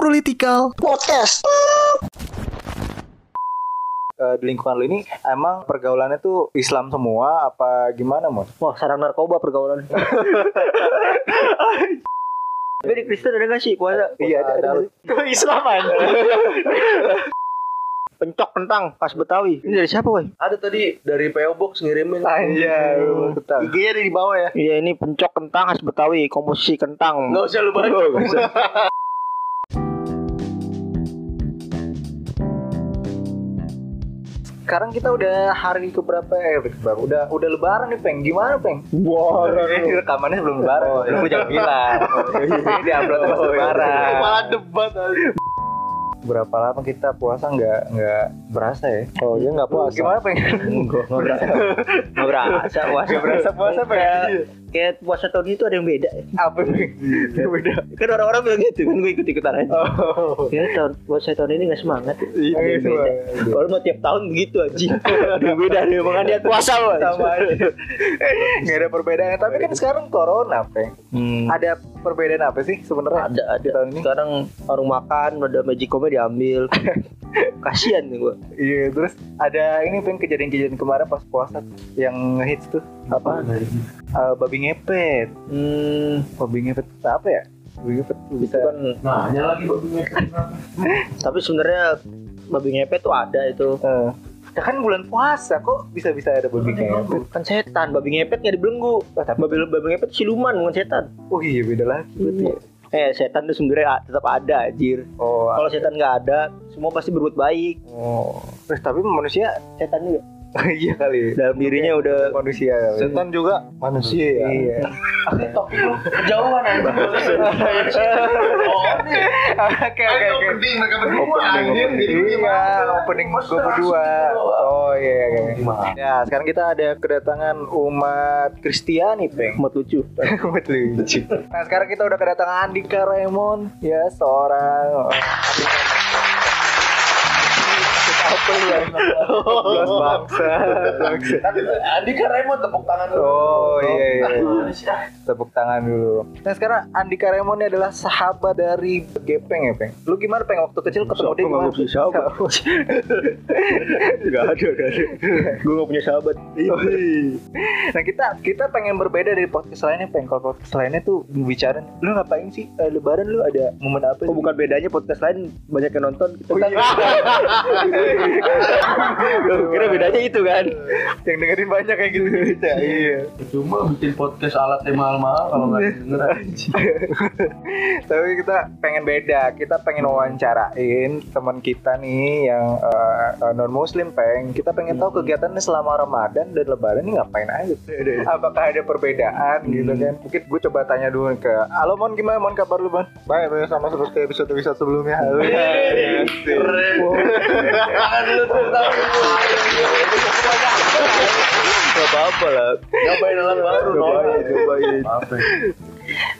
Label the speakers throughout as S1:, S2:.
S1: Ngobrolitikal
S2: Podcast.
S3: Eh, di lingkungan lu ini emang pergaulannya tuh Islam semua apa gimana mon?
S4: Wah, sarang narkoba pergaulan. Tapi di Kristen ada gak sih puasa?
S3: Iya ada, ada,
S4: Islam Pencok pentang, khas Betawi. Ini dari siapa, woi?
S5: Ada tadi dari PO Box ngirimin.
S3: Anjay, tetap.
S5: IG-nya ada di bawah ya.
S4: Iya, ini pencok kentang khas Betawi, komposisi kentang.
S5: Enggak usah lu baca.
S3: Sekarang kita udah hari keberapa ya? Bang? Udah udah lebaran nih peng. Gimana peng?
S4: Wah,
S3: Ini rekamannya sebelum lebaran. Oh, gue jangan bilang. Ini di upload pas lebaran.
S5: Malah debat aja.
S3: Berapa lama kita puasa nggak nggak berasa ya?
S4: Oh, dia nggak puasa.
S3: Gimana peng?
S4: Nggak berasa. Nggak ya, berasa puasa.
S3: Nggak berasa puasa
S4: Kayak-
S3: peng.
S4: Kayak puasa tahun itu ada yang beda. ya.
S3: Apa peng? Beda.
S4: Kan orang-orang bilang gitu, kan gue ikut-ikutan aja.
S3: Oh.
S4: Ya, tahun puasa tahun ini nggak semangat. ya.
S3: Iya,
S4: Ada yang
S3: iya,
S4: beda.
S3: iya.
S4: Kalau mau tiap tahun begitu aja. Ada yang beda, ada yang makan dia puasa, woi.
S3: Sama aja. Nggak ada perbedaan. Tapi kan sekarang corona peng.
S4: Hmm.
S3: Ada perbedaan apa sih sebenarnya?
S4: ada ada
S3: Tahun ini?
S4: sekarang warung makan ada magicomnya diambil kasihan nih gua
S3: Iya, terus ada ini peng kejadian-kejadian kemarin pas puasa yang hits tuh apa? Eh, babi ngepet.
S4: hmm,
S3: Babi ngepet apa ya? Babi ngepet tuh bisa
S4: itu kan
S5: Nanya Nah, lagi babinya.
S4: tapi sebenarnya babi ngepet tuh ada itu
S3: Eh, ya kan bulan puasa kok bisa-bisa ada babi ngepet.
S4: kan setan babi ngepet nggak dibelenggu babi babi ngepet siluman bukan setan
S3: Oh iya beda lagi berarti ya.
S4: eh setan tuh sebenarnya a- tetap ada anjir
S3: Oh,
S4: kalau setan nggak ada semua pasti berbuat baik
S3: oh. Terus tapi manusia
S4: setan juga
S3: iya kali.
S4: dalam dirinya udah
S3: Manusia kali.
S5: Setan juga
S3: manusia ya. Iya.
S5: jauhan aja.
S3: Oke oke oke.
S5: mereka
S3: Opening, opening, iya, opening gue berdua. Oh iya, iya, iya. Ya, sekarang kita ada kedatangan umat Kristiani, Peng.
S4: amat lucu
S3: Amat lucu. Nah sekarang kita udah kedatangan Andika Raymond ya seorang Apel ya Plus bangsa Bangsa.
S5: Andika Raymond tepuk tangan dulu.
S3: Oh iya iya
S5: Gimana sih, ah?
S3: Tepuk tangan dulu Nah sekarang Andika Raymond ini adalah sahabat dari Gepeng ya Peng Lu gimana Peng waktu kecil ketemu dia gimana?
S4: punya sahabat nggak ada nggak ada gue nggak punya sahabat Oh, iya.
S3: Nah kita kita pengen berbeda dari podcast lainnya Peng Kalau podcast lainnya tuh bicara Lu ngapain sih eh, lebaran lu ada momen apa
S4: Oh
S3: sih?
S4: bukan bedanya podcast lain banyak yang nonton kita
S3: Oh,
S4: kan
S3: iya.
S4: Gua kira bedanya itu kan
S3: yang dengerin banyak kayak gitu iya
S5: Cuma bikin podcast alatnya mahal-mahal kalau nggak denger aja.
S3: tapi kita pengen beda kita pengen wawancarain teman kita nih yang non muslim peng kita pengen
S5: Hmm.
S3: tahu kegiatannya selama ramadan dan lebaran ini ngapain aja
S5: Iya,
S3: apakah ada perbedaan
S5: Hmm.
S3: gitu kan mungkin gue coba tanya dulu ke halo mon gimana mon kabar lu mon baik sama seperti episode episode sebelumnya halo Iya,
S5: Iya, Tangan dulu tepuk tangan dulu.
S3: Iya,
S4: Gak apa-apa lah
S5: Nyobain alat baru.
S3: Cobain,
S5: nol.
S3: cobain.
S5: Apa ya?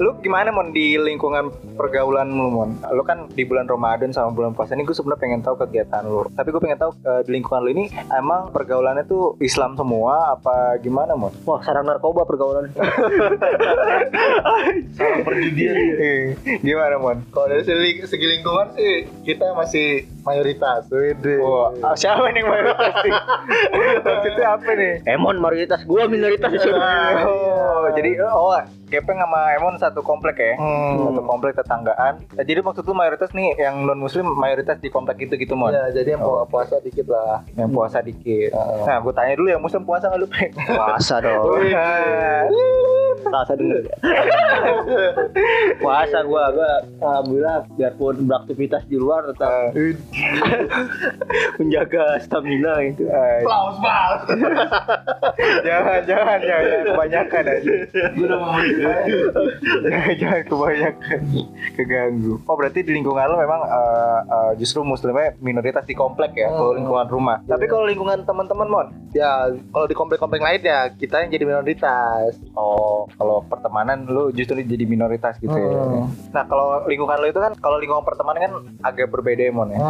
S3: Lu gimana mon di lingkungan pergaulan lu mon? Lu kan di bulan Ramadan sama bulan puasa ini gue sebenarnya pengen tahu kegiatan lu. Tapi gue pengen tahu eh, di lingkungan lu ini emang pergaulannya tuh Islam semua apa gimana mon?
S4: Wah sarang narkoba pergaulan
S5: Sama perjudian.
S3: Eh, gimana mon?
S6: Iya, Kalau dari segi, segi lingkungan sih kita masih mayoritas.
S3: Wede. Wah, siapa nih yang baru pasti? Maksudnya apa nih?
S6: Eh,
S4: Emon mayoritas gua minoritas di sana
S3: Oh, jadi
S6: Iya,
S3: oh Gepeng sama Emon satu komplek ya,
S6: Hmm.
S3: satu komplek tetanggaan. Eh, Jadi maksud lu mayoritas nih yang non muslim mayoritas di komplek itu gitu mon?
S6: Ya, jadi yang mau puasa dikit lah.
S3: yang puasa dikit. Nah, gue tanya dulu yang muslim puasa nggak lu peng?
S4: Puasa
S3: Oh, iya.
S4: dong
S3: Wah.
S4: Puasa dulu Puasa gua gua Alhamdulillah biarpun beraktivitas di luar tetap menjaga stamina gitu
S3: Eh,
S5: Plaus banget.
S3: jangan, jangan, jangan, jangan kebanyakan aja.
S5: Gue udah mau
S3: jangan, jangan kebanyakan keganggu. Oh berarti di lingkungan lo memang eh, eh, justru muslimnya minoritas di komplek ya, kalau lingkungan rumah. Tapi kalau lingkungan teman-teman mon,
S6: Ya, kalau di komplek-komplek lain ya kita yang jadi minoritas.
S3: oh kalau pertemanan lo justru jadi minoritas gitu ya. Nah kalau lingkungan lo itu kan, kalau lingkungan pertemanan kan agak berbeda ya mon ya.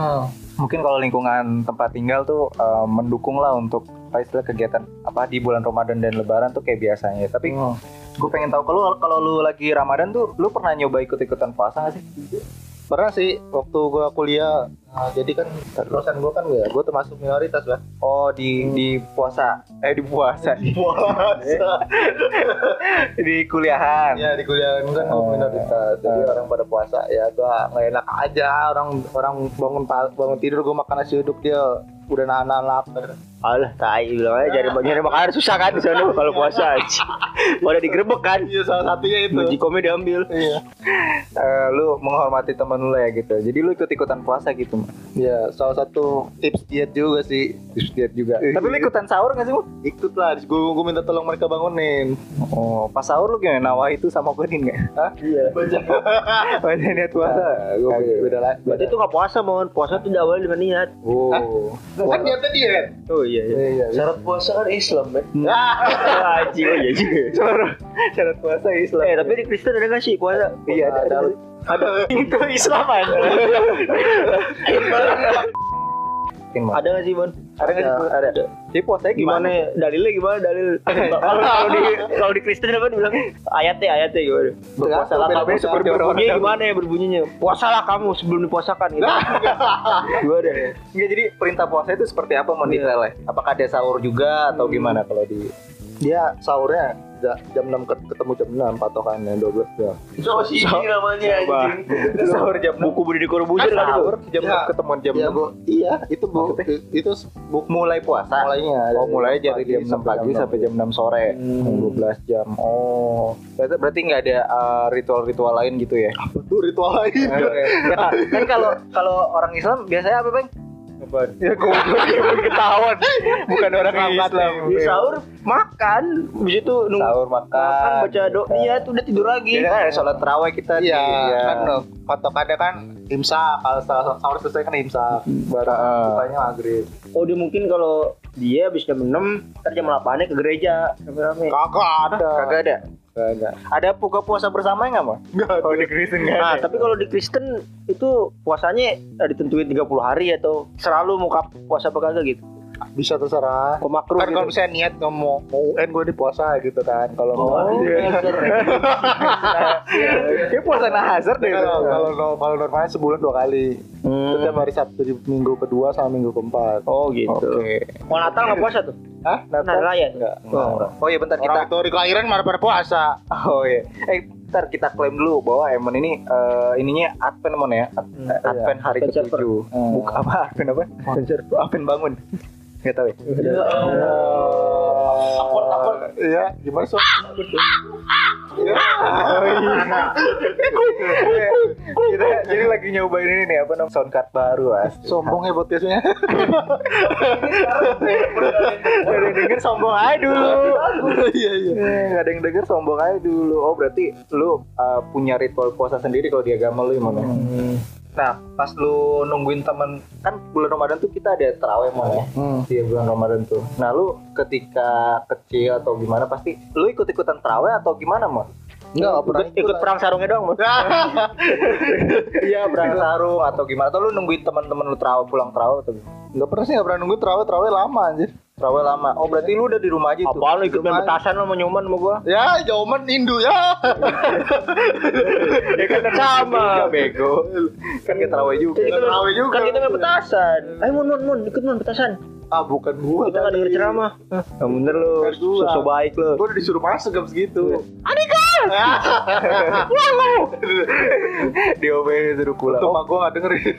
S3: mungkin kalau lingkungan tempat tinggal tuh eh, mendukung lah untuk apa istilah kegiatan apa di bulan Ramadan dan Lebaran tuh kayak biasanya. Tapi
S6: Oh.
S3: gue pengen tahu kalau kalau lu lagi Ramadan tuh lu pernah nyoba ikut ikutan puasa gak sih?
S6: pernah sih waktu gua kuliah nah, jadi kan dosen gua kan ya gua termasuk minoritas lah
S3: Oh di di puasa eh di puasa di, di kuliahan.
S6: ya di kuliah kan gua
S3: Oh.
S6: minoritas jadi
S3: Oh.
S6: orang pada puasa ya gua nggak enak aja orang orang bangun pa- bangun tidur gua makan nasi uduk dia udah nahan-nahan lapar
S4: Alah, tai bilang aja nyari nyari makanan susah kan di sana kalau puasa. anjing. Pada digerebek kan.
S6: iya salah satunya
S4: Meji komedi diambil.
S6: iya
S3: Eh, lu menghormati temen lu ya gitu. Jadi lu ikut ikutan puasa gitu. Man.
S6: Iya, salah satu tips diet juga sih.
S3: Terus diet juga.
S6: Iya.
S3: Tapi lu ikutan sahur gak sih lu?
S6: Ikut lah, gue gue minta tolong mereka bangunin.
S3: Oh pas sahur lu gimana? Nawah itu sama Godin gak? Hah? Iya. Baca niat puasa.
S6: Nah, gua
S3: Kagak.
S6: beda lah.
S4: Berarti itu nggak puasa mon. Puasa itu diawali dengan niat.
S3: Oh.
S6: kan niatnya diet.
S4: Oh iya. iya.
S6: Iya, Hmm. iya.
S5: Syarat puasa kan Islam ya.
S4: Ah, anjing, oh iya juga.
S3: Syarat syarat puasa Islam.
S4: Eh tapi di Kristen ada nggak sih puasa?
S3: Iya, ada- ada.
S4: Itu Islam aja. Ada nggak sih mon?
S3: Iya, Ada nggak sih?
S4: Ada.
S3: Jadi puasanya
S4: Gimana?
S3: gimana?
S4: Dalilnya gimana? Dalil. Kalau kalau di kalau di Kristen apa dibilang? Ayatnya ayatnya ya, gimana? Berpuasalah kamu
S3: beda-beda sumber
S4: berbunyi
S3: berwarna.
S4: gimana ya berbunyinya? Puasalah kamu sebelum dipuasakan gitu. Gimana ya?
S3: Enggak jadi perintah puasa itu seperti apa mau
S6: Iya.
S3: detailnya? Apakah ada sahur juga atau gimana kalau di
S6: Hmm. Dia sahurnya ja- jam 6 ket- ketemu jam 6 patokannya 12 jam.
S5: Itu masih ini namanya anjing.
S3: sahur jam Ah,
S4: Buku Budi Corbuzier kan itu.
S3: sahur jam
S6: Ya.
S3: ketemu jam
S6: Iya, Bu. Iya, itu Bu. I- Itu s- bu-
S3: mulai puasa.
S6: mulainya.
S3: Oh mulai dari
S6: Pagi
S3: jam 6 pagi sampai jam 6 sore.
S6: enam.
S3: Hmm.
S6: 12 jam.
S3: Oh, berarti berarti nggak ada uh, ritual-ritual lain gitu ya?
S6: Itu ritual lain.
S3: ya Kak. kan kalau kalau orang Islam biasanya apa bang? Ya gue ketahuan, bukan orang
S6: Iya,
S3: Islam.
S4: Di sahur makan, habis itu nunggu
S3: Sahur
S4: makan
S3: makan.
S4: baca doa niat udah tidur lagi.
S3: Jadi kan ada sholat terawih kita
S6: Iya,
S3: iya.
S6: kan loh, patokannya kan imsak. Kalau setelah sahur selesai kan imsak. Baru
S3: Heeh.
S6: bukanya maghrib.
S4: Oh dia mungkin kalau dia habis jam 6 ntar jam 8 ke gereja rame-rame.
S6: Kagak ada.
S3: Kagak ada.
S6: Kagak.
S3: Ada buka puasa bersama nggak mah? Kalau di Kristen nggak
S4: Nah,
S3: ada.
S4: tapi kalau di Kristen itu puasanya eh, ditentuin 30 hari atau selalu muka puasa apa kagak gitu.
S6: Bisa terserah.
S4: Kok makruh
S6: kan kalau
S4: gitu.
S6: misalnya niat nggak mau mau UN gue di puasa gitu kan kalau
S4: Oh,
S6: mau
S4: iya.
S3: Kayak puasa nahazar deh.
S6: kalau kalau no- kalau normalnya sebulan dua kali
S4: Hmm.
S6: setiap hari Sabtu di minggu kedua sama minggu keempat
S4: Oh gitu.
S3: Oke.
S4: Mau Natal nggak puasa tuh?
S6: Hah? kan?
S4: Natal raya.
S6: Enggak.
S4: Oh.
S3: Oh iya bentar
S6: Orang
S3: kita.
S6: itu hari kelahiran malah pada puasa.
S3: Oh iya. Eh bentar kita klaim dulu bahwa Emon ini eh, ininya Advent Emon ya. Ad- Advent hari
S4: Advent
S3: ke-7. Buka apa? Advent apa? Advent bangun. Enggak tahu ya.
S6: Iya, gimana soal?
S3: Iya. kita jadi lagi nyobain ini nih apa namanya sound card baru as.
S6: Sombong ya podcastnya.
S3: Gak ada yang denger sombong aja dulu.
S6: Iya iya.
S3: Eh, Gak ada yang denger sombong aja dulu. Oh berarti lu uh, punya ritual puasa sendiri kalau di agama lu gimana?
S6: Hmm.
S3: Nah pas lu nungguin temen kan bulan Ramadan tuh kita ada terawih mau ya.
S6: Hmm.
S3: Iya bulan Ramadan tuh. Nah lu ketika kecil atau gimana pasti lu ikut ikutan terawih atau gimana mon?
S6: Enggak, nggak pernah
S4: Ikut, ikut perang sarungnya doang, Mas.
S3: Iya berang sarung atau gimana? Atau lu nungguin teman-teman lu terawih pulang terawih atau gimana?
S6: Enggak pernah sih, enggak pernah nunggu terawih, terawih lama anjir.
S3: Terawih lama. Oh berarti lu udah di rumah aja tuh.
S4: Apaan lu ikut main petasan lu mau nyoman sama gua?
S6: Ya, jawaban Hindu ya.
S4: Ya kan sama.
S3: bego. Kan gak terawih juga.
S4: Kan kita main-
S6: Terawih juga.
S4: Kan kita main petasan. Ayo mun mun mun ikut mun petasan.
S6: Ah, bukan gua.
S4: Kita nggak denger
S6: tadi.
S4: ceramah. Nah, bener lu.
S6: Kan gua.
S4: Sosok baik lu.
S6: Gue udah disuruh masuk gitu. jam
S3: Iya.
S6: segitu.
S3: Diomelin suruh pulang.
S6: Tuh, gue gak dengerin.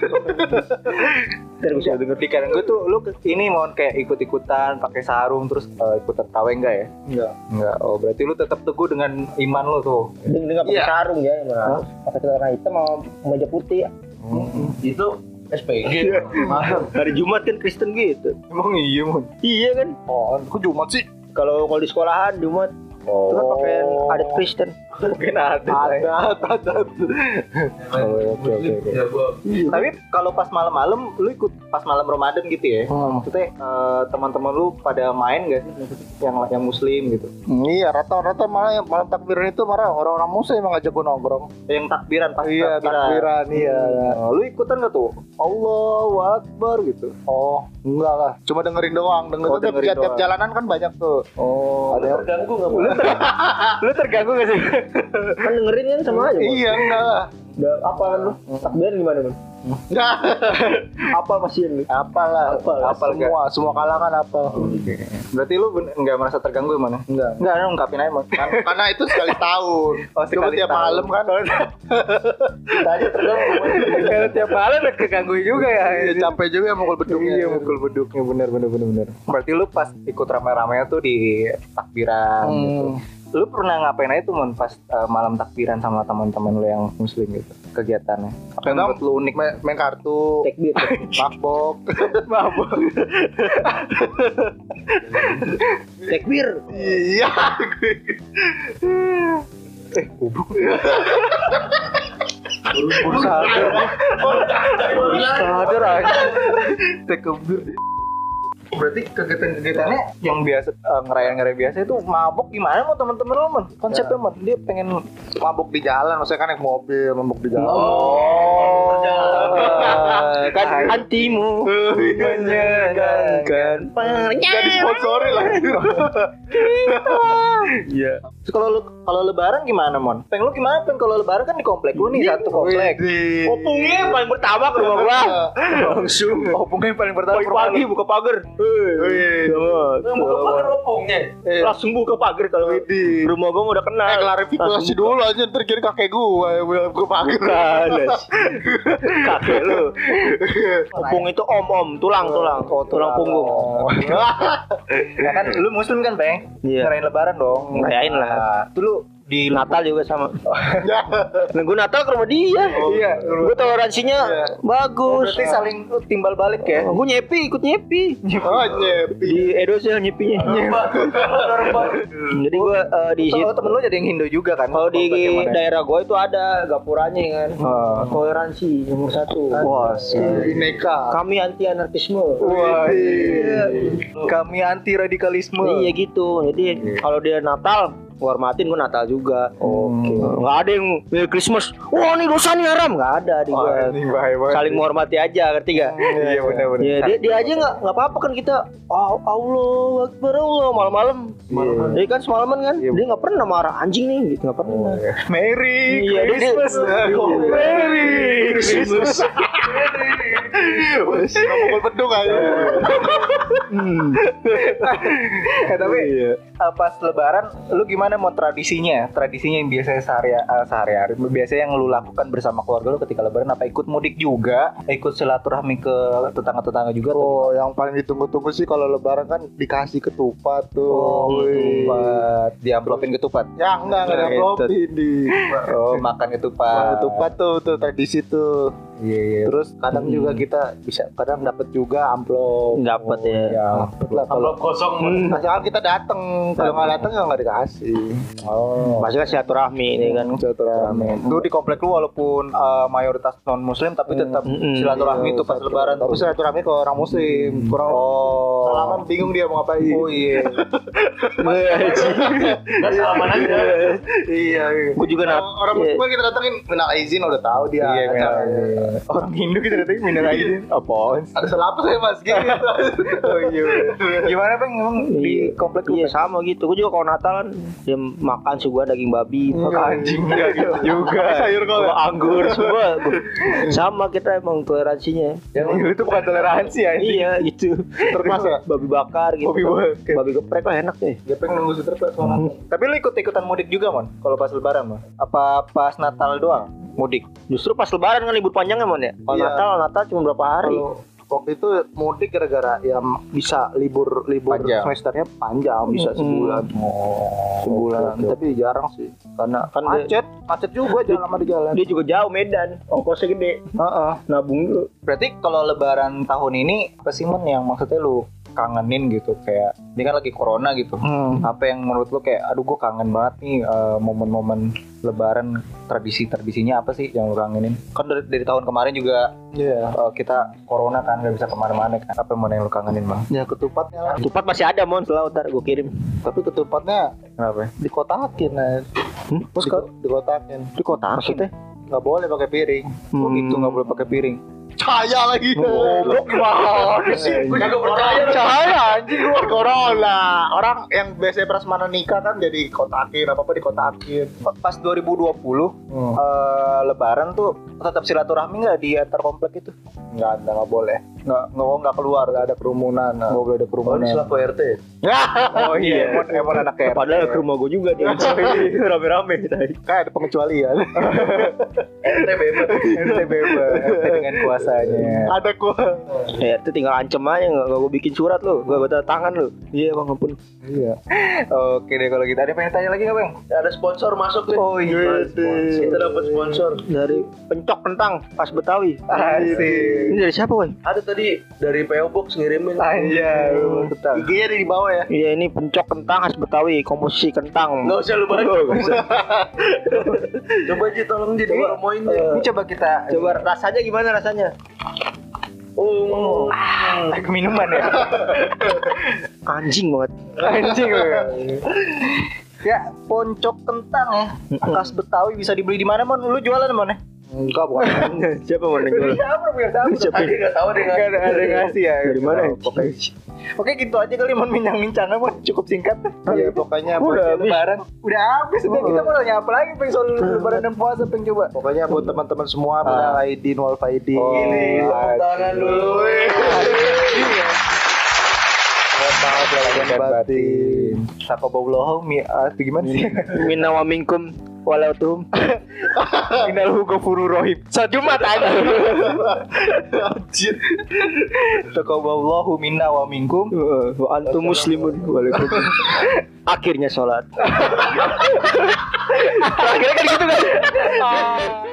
S4: Ntar gua suruh denger.
S3: di kanan gue tuh lu ke- ini mau kayak ikut-ikutan pakai sarung terus eh, ikutan tawe enggak ya?
S6: Enggak.
S3: Enggak. Oh, berarti lu tetap teguh dengan iman lu tuh.
S4: Dia nggak pakai
S6: Iya.
S4: sarung ya, emang. Pakai celana hitam sama meja putih.
S5: Itu SPG. Mahal.
S4: Iya. Hari Jumat kan Kristen gitu.
S3: Emang iya, Mun.
S4: Iya kan?
S6: Oh, kok Jumat sih?
S4: Kalau kalau di sekolahan Jumat itu kan pakai adat Kristen.
S3: Mungkin ada.
S6: Ada,
S3: eh. Oh, oke, oke, oke.
S5: Ya gua
S4: Iya.
S3: Tapi
S6: Iya.
S3: kalau pas malam-malam lu ikut pas malam Ramadan gitu ya.
S6: Oh.
S3: Maksudnya eh, teman-teman lu pada main gak sih Maksudnya yang yang muslim gitu.
S6: Iya, rata-rata malah yang malam takbiran itu malah orang-orang musuh yang ngajak gue nongkrong.
S3: Yang takbiran pas
S6: Iya, takbiran, iya.
S3: Oh, lu ikutan gak tuh? Allahu Akbar gitu.
S6: Oh, enggak lah. Cuma dengerin doang. Dengerin
S3: Oh,
S6: tiap,
S3: dengerin
S6: tiap, tiap
S3: doang.
S6: jalanan kan banyak tuh.
S3: Oh.
S6: Ada yang-
S5: terganggu enggak boleh.
S3: Lu terganggu gak sih?
S4: Kan dengerin kan sama aja. Bang.
S6: Iya, enggak lah.
S4: Udah apa kan lu? Takbiran gimana kan?
S6: Nah,
S4: Apa pasien lu?
S6: apalah,
S4: Apal,
S6: apal
S3: apal
S6: semua, semua kalangan apal.
S3: Berarti lu ben- nggak merasa terganggu mana?
S6: Enggak.
S3: Enggak, lu ungkapin aja Mon.
S6: Kan, karena itu sekali tahun.
S3: Oh,
S6: Cuma
S3: sekali
S6: tiap
S3: tahun.
S6: malam kan.
S4: Kita aja
S3: Kalau tiap malam udah keganggu juga ya.
S6: Iya, capek juga ya mukul bedungnya.
S3: Iya mukul beduknya bener bener bener bener. Berarti lu pas ikut rame-rame tuh di takbiran
S6: Hmm.
S3: gitu. Lu pernah ngapain aja tuh mon pas eh, malam takbiran sama teman-teman lu yang muslim gitu kegiatannya? Apa yang
S6: Kadang
S3: menurut lu unik?
S6: Main, main kartu,
S4: Takbir.
S6: mabok.
S3: Mabok.
S4: Takbir.
S6: Iya.
S3: Eh, kubuk.
S5: Urus-urus
S3: Sadar. Sadar aja. Tekebir. Berarti kegiatan-kegiatannya yang biasa eh, ngerayain-ngerayain biasa itu mabok gimana mau teman-teman lu mon? Konsepnya mon dia pengen
S6: mabuk di jalan, maksudnya kan naik mobil, mabuk di jalan.
S3: Oh,
S4: Kan antimu
S3: iya, menyenangkan.
S6: Gak disponsori lah.
S3: Gitu. Iya. Terus kalau lu kalau lebaran gimana, Mon? Peng lu gimana, Peng? Kalau lebaran kan di komplek lu nih, satu komplek.
S6: Widih.
S4: Opungnya yang paling pertama ke rumah gua.
S3: Langsung. Opungnya Oh, yang paling pertama
S4: Iya. Pagi pagi buka pagar. Iya.
S6: Widih.
S4: Yang buka pagar opungnya. Langsung buka pagar kalau
S6: Widih.
S4: rumah gua udah kenal.
S6: Eh, klarifikasi dulu aja ntar kira kakek gua yang bilang gua pager.
S4: Bukan. Kakek lu. Opung itu om-om, tulang, tulang,
S3: ya? Oh,
S4: tulang punggung.
S3: Ya kan lu muslim kan, Peng?
S4: Iya.
S3: Ngerayain lebaran dong.
S4: Ngerayain lah.
S3: Nah, Itu lu
S4: Di Natal juga sama. Nunggu Natal ke rumah dia.
S3: Iya, Ya,
S4: Gue toleransinya bagus.
S3: berarti saling timbal balik ya.
S4: Gue nyepi, ikut nyepi.
S6: Oh, nyepi.
S4: Di Edo sih nyepinya. Jadi gue di
S3: Tuh,
S4: situ.
S3: temen lu jadi yang Hindu juga kan?
S4: Kalau di
S3: Komplek yang mana?
S4: daerah gue itu ada gapuranya kan.
S3: Oh.
S4: Toleransi nomor satu.
S3: Wah, sih.
S6: Bineka.
S4: Kami anti anarkisme.
S3: Wah, iya. kami anti radikalisme.
S4: Iya gitu. Jadi kalau dia Natal, gua hormatin gue Natal juga.
S3: Oke.
S4: Nggak ada yang Merry Christmas. Wah ini dosa nih haram. Nggak ada di
S3: Wah,
S4: gua.
S3: ini bahaya banget.
S4: Saling menghormati aja, ngerti gak?
S3: Iya benar-benar.
S4: Ya, dia, dia aja nggak nggak apa-apa kan kita oh, Allah Akbar Allah malam-malam. Dia kan semalaman kan
S3: Iya. Oh.
S4: dia nggak pernah marah anjing nih gitu nggak pernah.
S3: Merry
S4: Iya, dia-
S3: Christmas.
S4: dia-
S6: Oh,
S3: Merry Christmas.
S6: Nggak Mukul bedung aja.
S3: Iya.
S6: Hmm.
S3: Eh, tapi
S6: Iya.
S3: eh, pas lebaran lu gimana mau tradisinya? Tradisinya yang biasanya sehari eh, sehari-hari biasanya yang lu lakukan bersama keluarga lu ketika lebaran apa ikut mudik juga? Ikut silaturahmi ke tetangga-tetangga juga atau
S6: Oh, yang paling ditunggu-tunggu sih kalau lebaran kan dikasih ketupat tuh.
S3: Oh,
S6: Wih.
S3: ketupat, diamplopin ketupat.
S6: Ya enggak enggak ada
S3: Nah,
S6: kopi di.
S3: Oh, makan ketupat.
S6: Ketupat tuh tuh tradisi tuh.
S3: Iya, iya.
S6: Terus kadang
S3: Hmm.
S6: juga kita bisa kadang dapat juga amplop. Oh, iya,
S4: Dapat ya.
S3: Ya,
S6: Dapet lah kalau
S5: Kalau kosong
S4: Hmm.
S6: Asalkan kita datang, kalau nggak datang ya nggak dikasih.
S3: Oh.
S4: Pasti kan silaturahmi ini
S3: Iya
S4: kan.
S6: Iya, Silaturahmi.
S3: Tuh di komplek lu walaupun
S6: uh,
S3: eh, mayoritas non muslim tapi tetap
S4: Mm-mm.
S3: silaturahmi
S6: Iya,
S3: tuh pas lebaran
S6: Tapi
S3: tuh.
S6: silaturahmi ke orang muslim, kurang
S3: Oh.
S6: salaman bingung dia mau ngapain.
S3: Oh iya. Iya.
S5: Nggak salaman aja
S6: iya. iya.
S4: Gue juga nat.
S6: Orang orang
S4: Iya.
S6: muslim kita datengin minal izin udah tahu dia.
S3: Iya, minal
S6: acaranya.
S3: Orang Hindu kita datang minum aja. Apaan?
S6: Ada salah apa saya mas gitu.
S3: Oh iya. Gimana bang? Emang di
S4: Iya.
S3: komplek lu?
S4: Iya sama gitu. Gue juga kalau Natal kan dia makan suguhan daging babi,
S3: Bang? Anjing enggak gitu juga.
S6: Sayur kol.
S4: sama anggur semua. Gua- Sama kita emang toleransinya.
S3: Yang
S6: Iya,
S3: itu bukan toleransi ya.
S4: Iya gitu.
S6: Terpas ya?
S4: Babi bakar gitu.
S3: Babi bakar.
S4: Babi geprek lah enak deh.
S6: Dia pengen nunggu seterusnya
S3: Tapi lu ikut ikutan mudik juga mon? Kalau pas lebaran mon? Apa pas Natal doang? Mudik.
S4: Justru pas lebaran kan libur panjang ya mon ya. Kalau
S6: Iya.
S4: Natal Natal cuma berapa hari.
S6: Kalau waktu itu mudik gara-gara ya bisa libur libur
S3: Panjang.
S6: semesternya panjang bisa
S4: Mm-mm.
S6: sebulan
S3: Oh.
S6: sebulan tapi jarang sih karena
S4: Kan dia-
S6: macet macet juga jalan lama di jalan
S4: Dia juga jauh Medan. Ongkosnya gede.
S6: Heeh.
S4: Nabung dulu.
S3: Berarti kalau lebaran tahun ini apa sih mon yang maksudnya lu kangenin gitu kayak ini kan lagi corona gitu.
S4: Hmm.
S3: Apa yang menurut lu kayak aduh gue kangen banget nih eh, momen-momen lebaran tradisi-tradisinya apa sih yang lu kangenin? Kan dari, dari tahun kemarin juga
S6: Iya.
S3: eh, kita corona kan nggak bisa kemana-mana kan. Apa yang mana yang lu kangenin bang?
S6: Ya ketupatnya lah.
S4: Ketupat masih ada mon selalu ntar gue kirim.
S6: Tapi ketupatnya
S3: Kenapa? ya?
S6: dikotakin lah.
S4: Hmm?
S6: Terus
S4: Di-
S6: dikotakin.
S4: Di kota maksudnya?
S6: Nggak boleh pakai piring.
S3: Oh gitu nggak boleh pakai piring.
S6: Cahaya lagi. Goblok banget sih.
S5: Gue juga percaya.
S6: Cahaya anjing gua corona. Orang yang biasanya prasmanan nikah kan jadi kotakin apa-apa dikotakin.
S3: Pas 2020
S6: Hmm.
S3: eh, lebaran tuh tetap silaturahmi nggak di antar komplek itu?
S6: Enggak ada, enggak boleh.
S3: Nggak nggak oh, nggak keluar, nggak ada kerumunan, nggak boleh ada
S5: Oh,
S3: kerumunan.
S5: ini selaku
S6: ya?
S5: RT.
S3: Oh iya,
S4: Iya.
S3: emang, emang anak RT.
S4: Padahal ke rumah gue juga dia. Rame-rame tadi.
S6: Kayak ada pengecualian.
S5: RT bebas.
S3: RT bebas, RT dengan kuasanya.
S6: ada gua.
S4: Ya itu tinggal ancam aja nggak nggak gue bikin surat lu, gue tanda tangan lu. Iya bang ampun.
S3: Iya. Oke deh kalau gitu. Ada yang pengen tanya lagi nggak bang?
S5: Ada sponsor masuk nih.
S3: Oh iya.
S5: Kita dapat sponsor.
S4: Dari pencok kentang khas Betawi.
S3: Asik.
S4: Ini dari siapa woi?
S5: Ada tadi dari PO Box ngirimin.
S3: Ah, Anjay.
S6: Tetap. IG-nya ada di bawah ya.
S4: Iya ini pencok kentang khas Betawi, komposisi kentang.
S5: Nggak usah lu baca. Coba aja tolong di
S3: Ini,
S5: promoin
S3: eh,
S5: deh.
S3: ini coba kita
S4: Coba rasanya gimana rasanya?
S5: Oh,
S3: Ah, minuman ya.
S4: Anjing banget.
S3: Anjing lu. Ya, poncok kentang ya. Khas Betawi bisa dibeli di mana, Mon? Lu jualan, Mon? ya?
S6: Enggak bukan.
S4: siapa mau nanya
S3: Siapa, Mon? Siapa?
S4: Siapa?
S5: dia nggak tahu dia nggak.
S3: Gak ada ada yang ngasih ya.
S4: Dari mana?
S3: Oh, pokoknya- Oke, gitu aja kali Mon bincang-bincangnya, Mon. Cukup singkat.
S6: Iya, pokoknya
S4: Udah
S6: buat-
S4: habis.
S3: Lebaran. Udah habis. Udah kita mau nanya apa lagi pengen soal lebaran dan puasa pengen coba.
S6: Pokoknya buat teman-teman semua
S3: Ah.
S6: minal aidin wal faidin.
S3: Oh,
S5: Ini tepuk tangan dulu.
S6: Mohon maaf lahir dan batin.
S3: Sakobobloho mi ah, itu gimana sih?
S4: Minna wa minkum walautum.
S3: Innal ghafurur rohim.
S4: Sajumat aja.
S6: Anjir.
S3: Sakoboblohu minna wa minkum.
S4: Wa antum muslimun walaikum. Akhirnya sholat. Akhirnya kan gitu kan.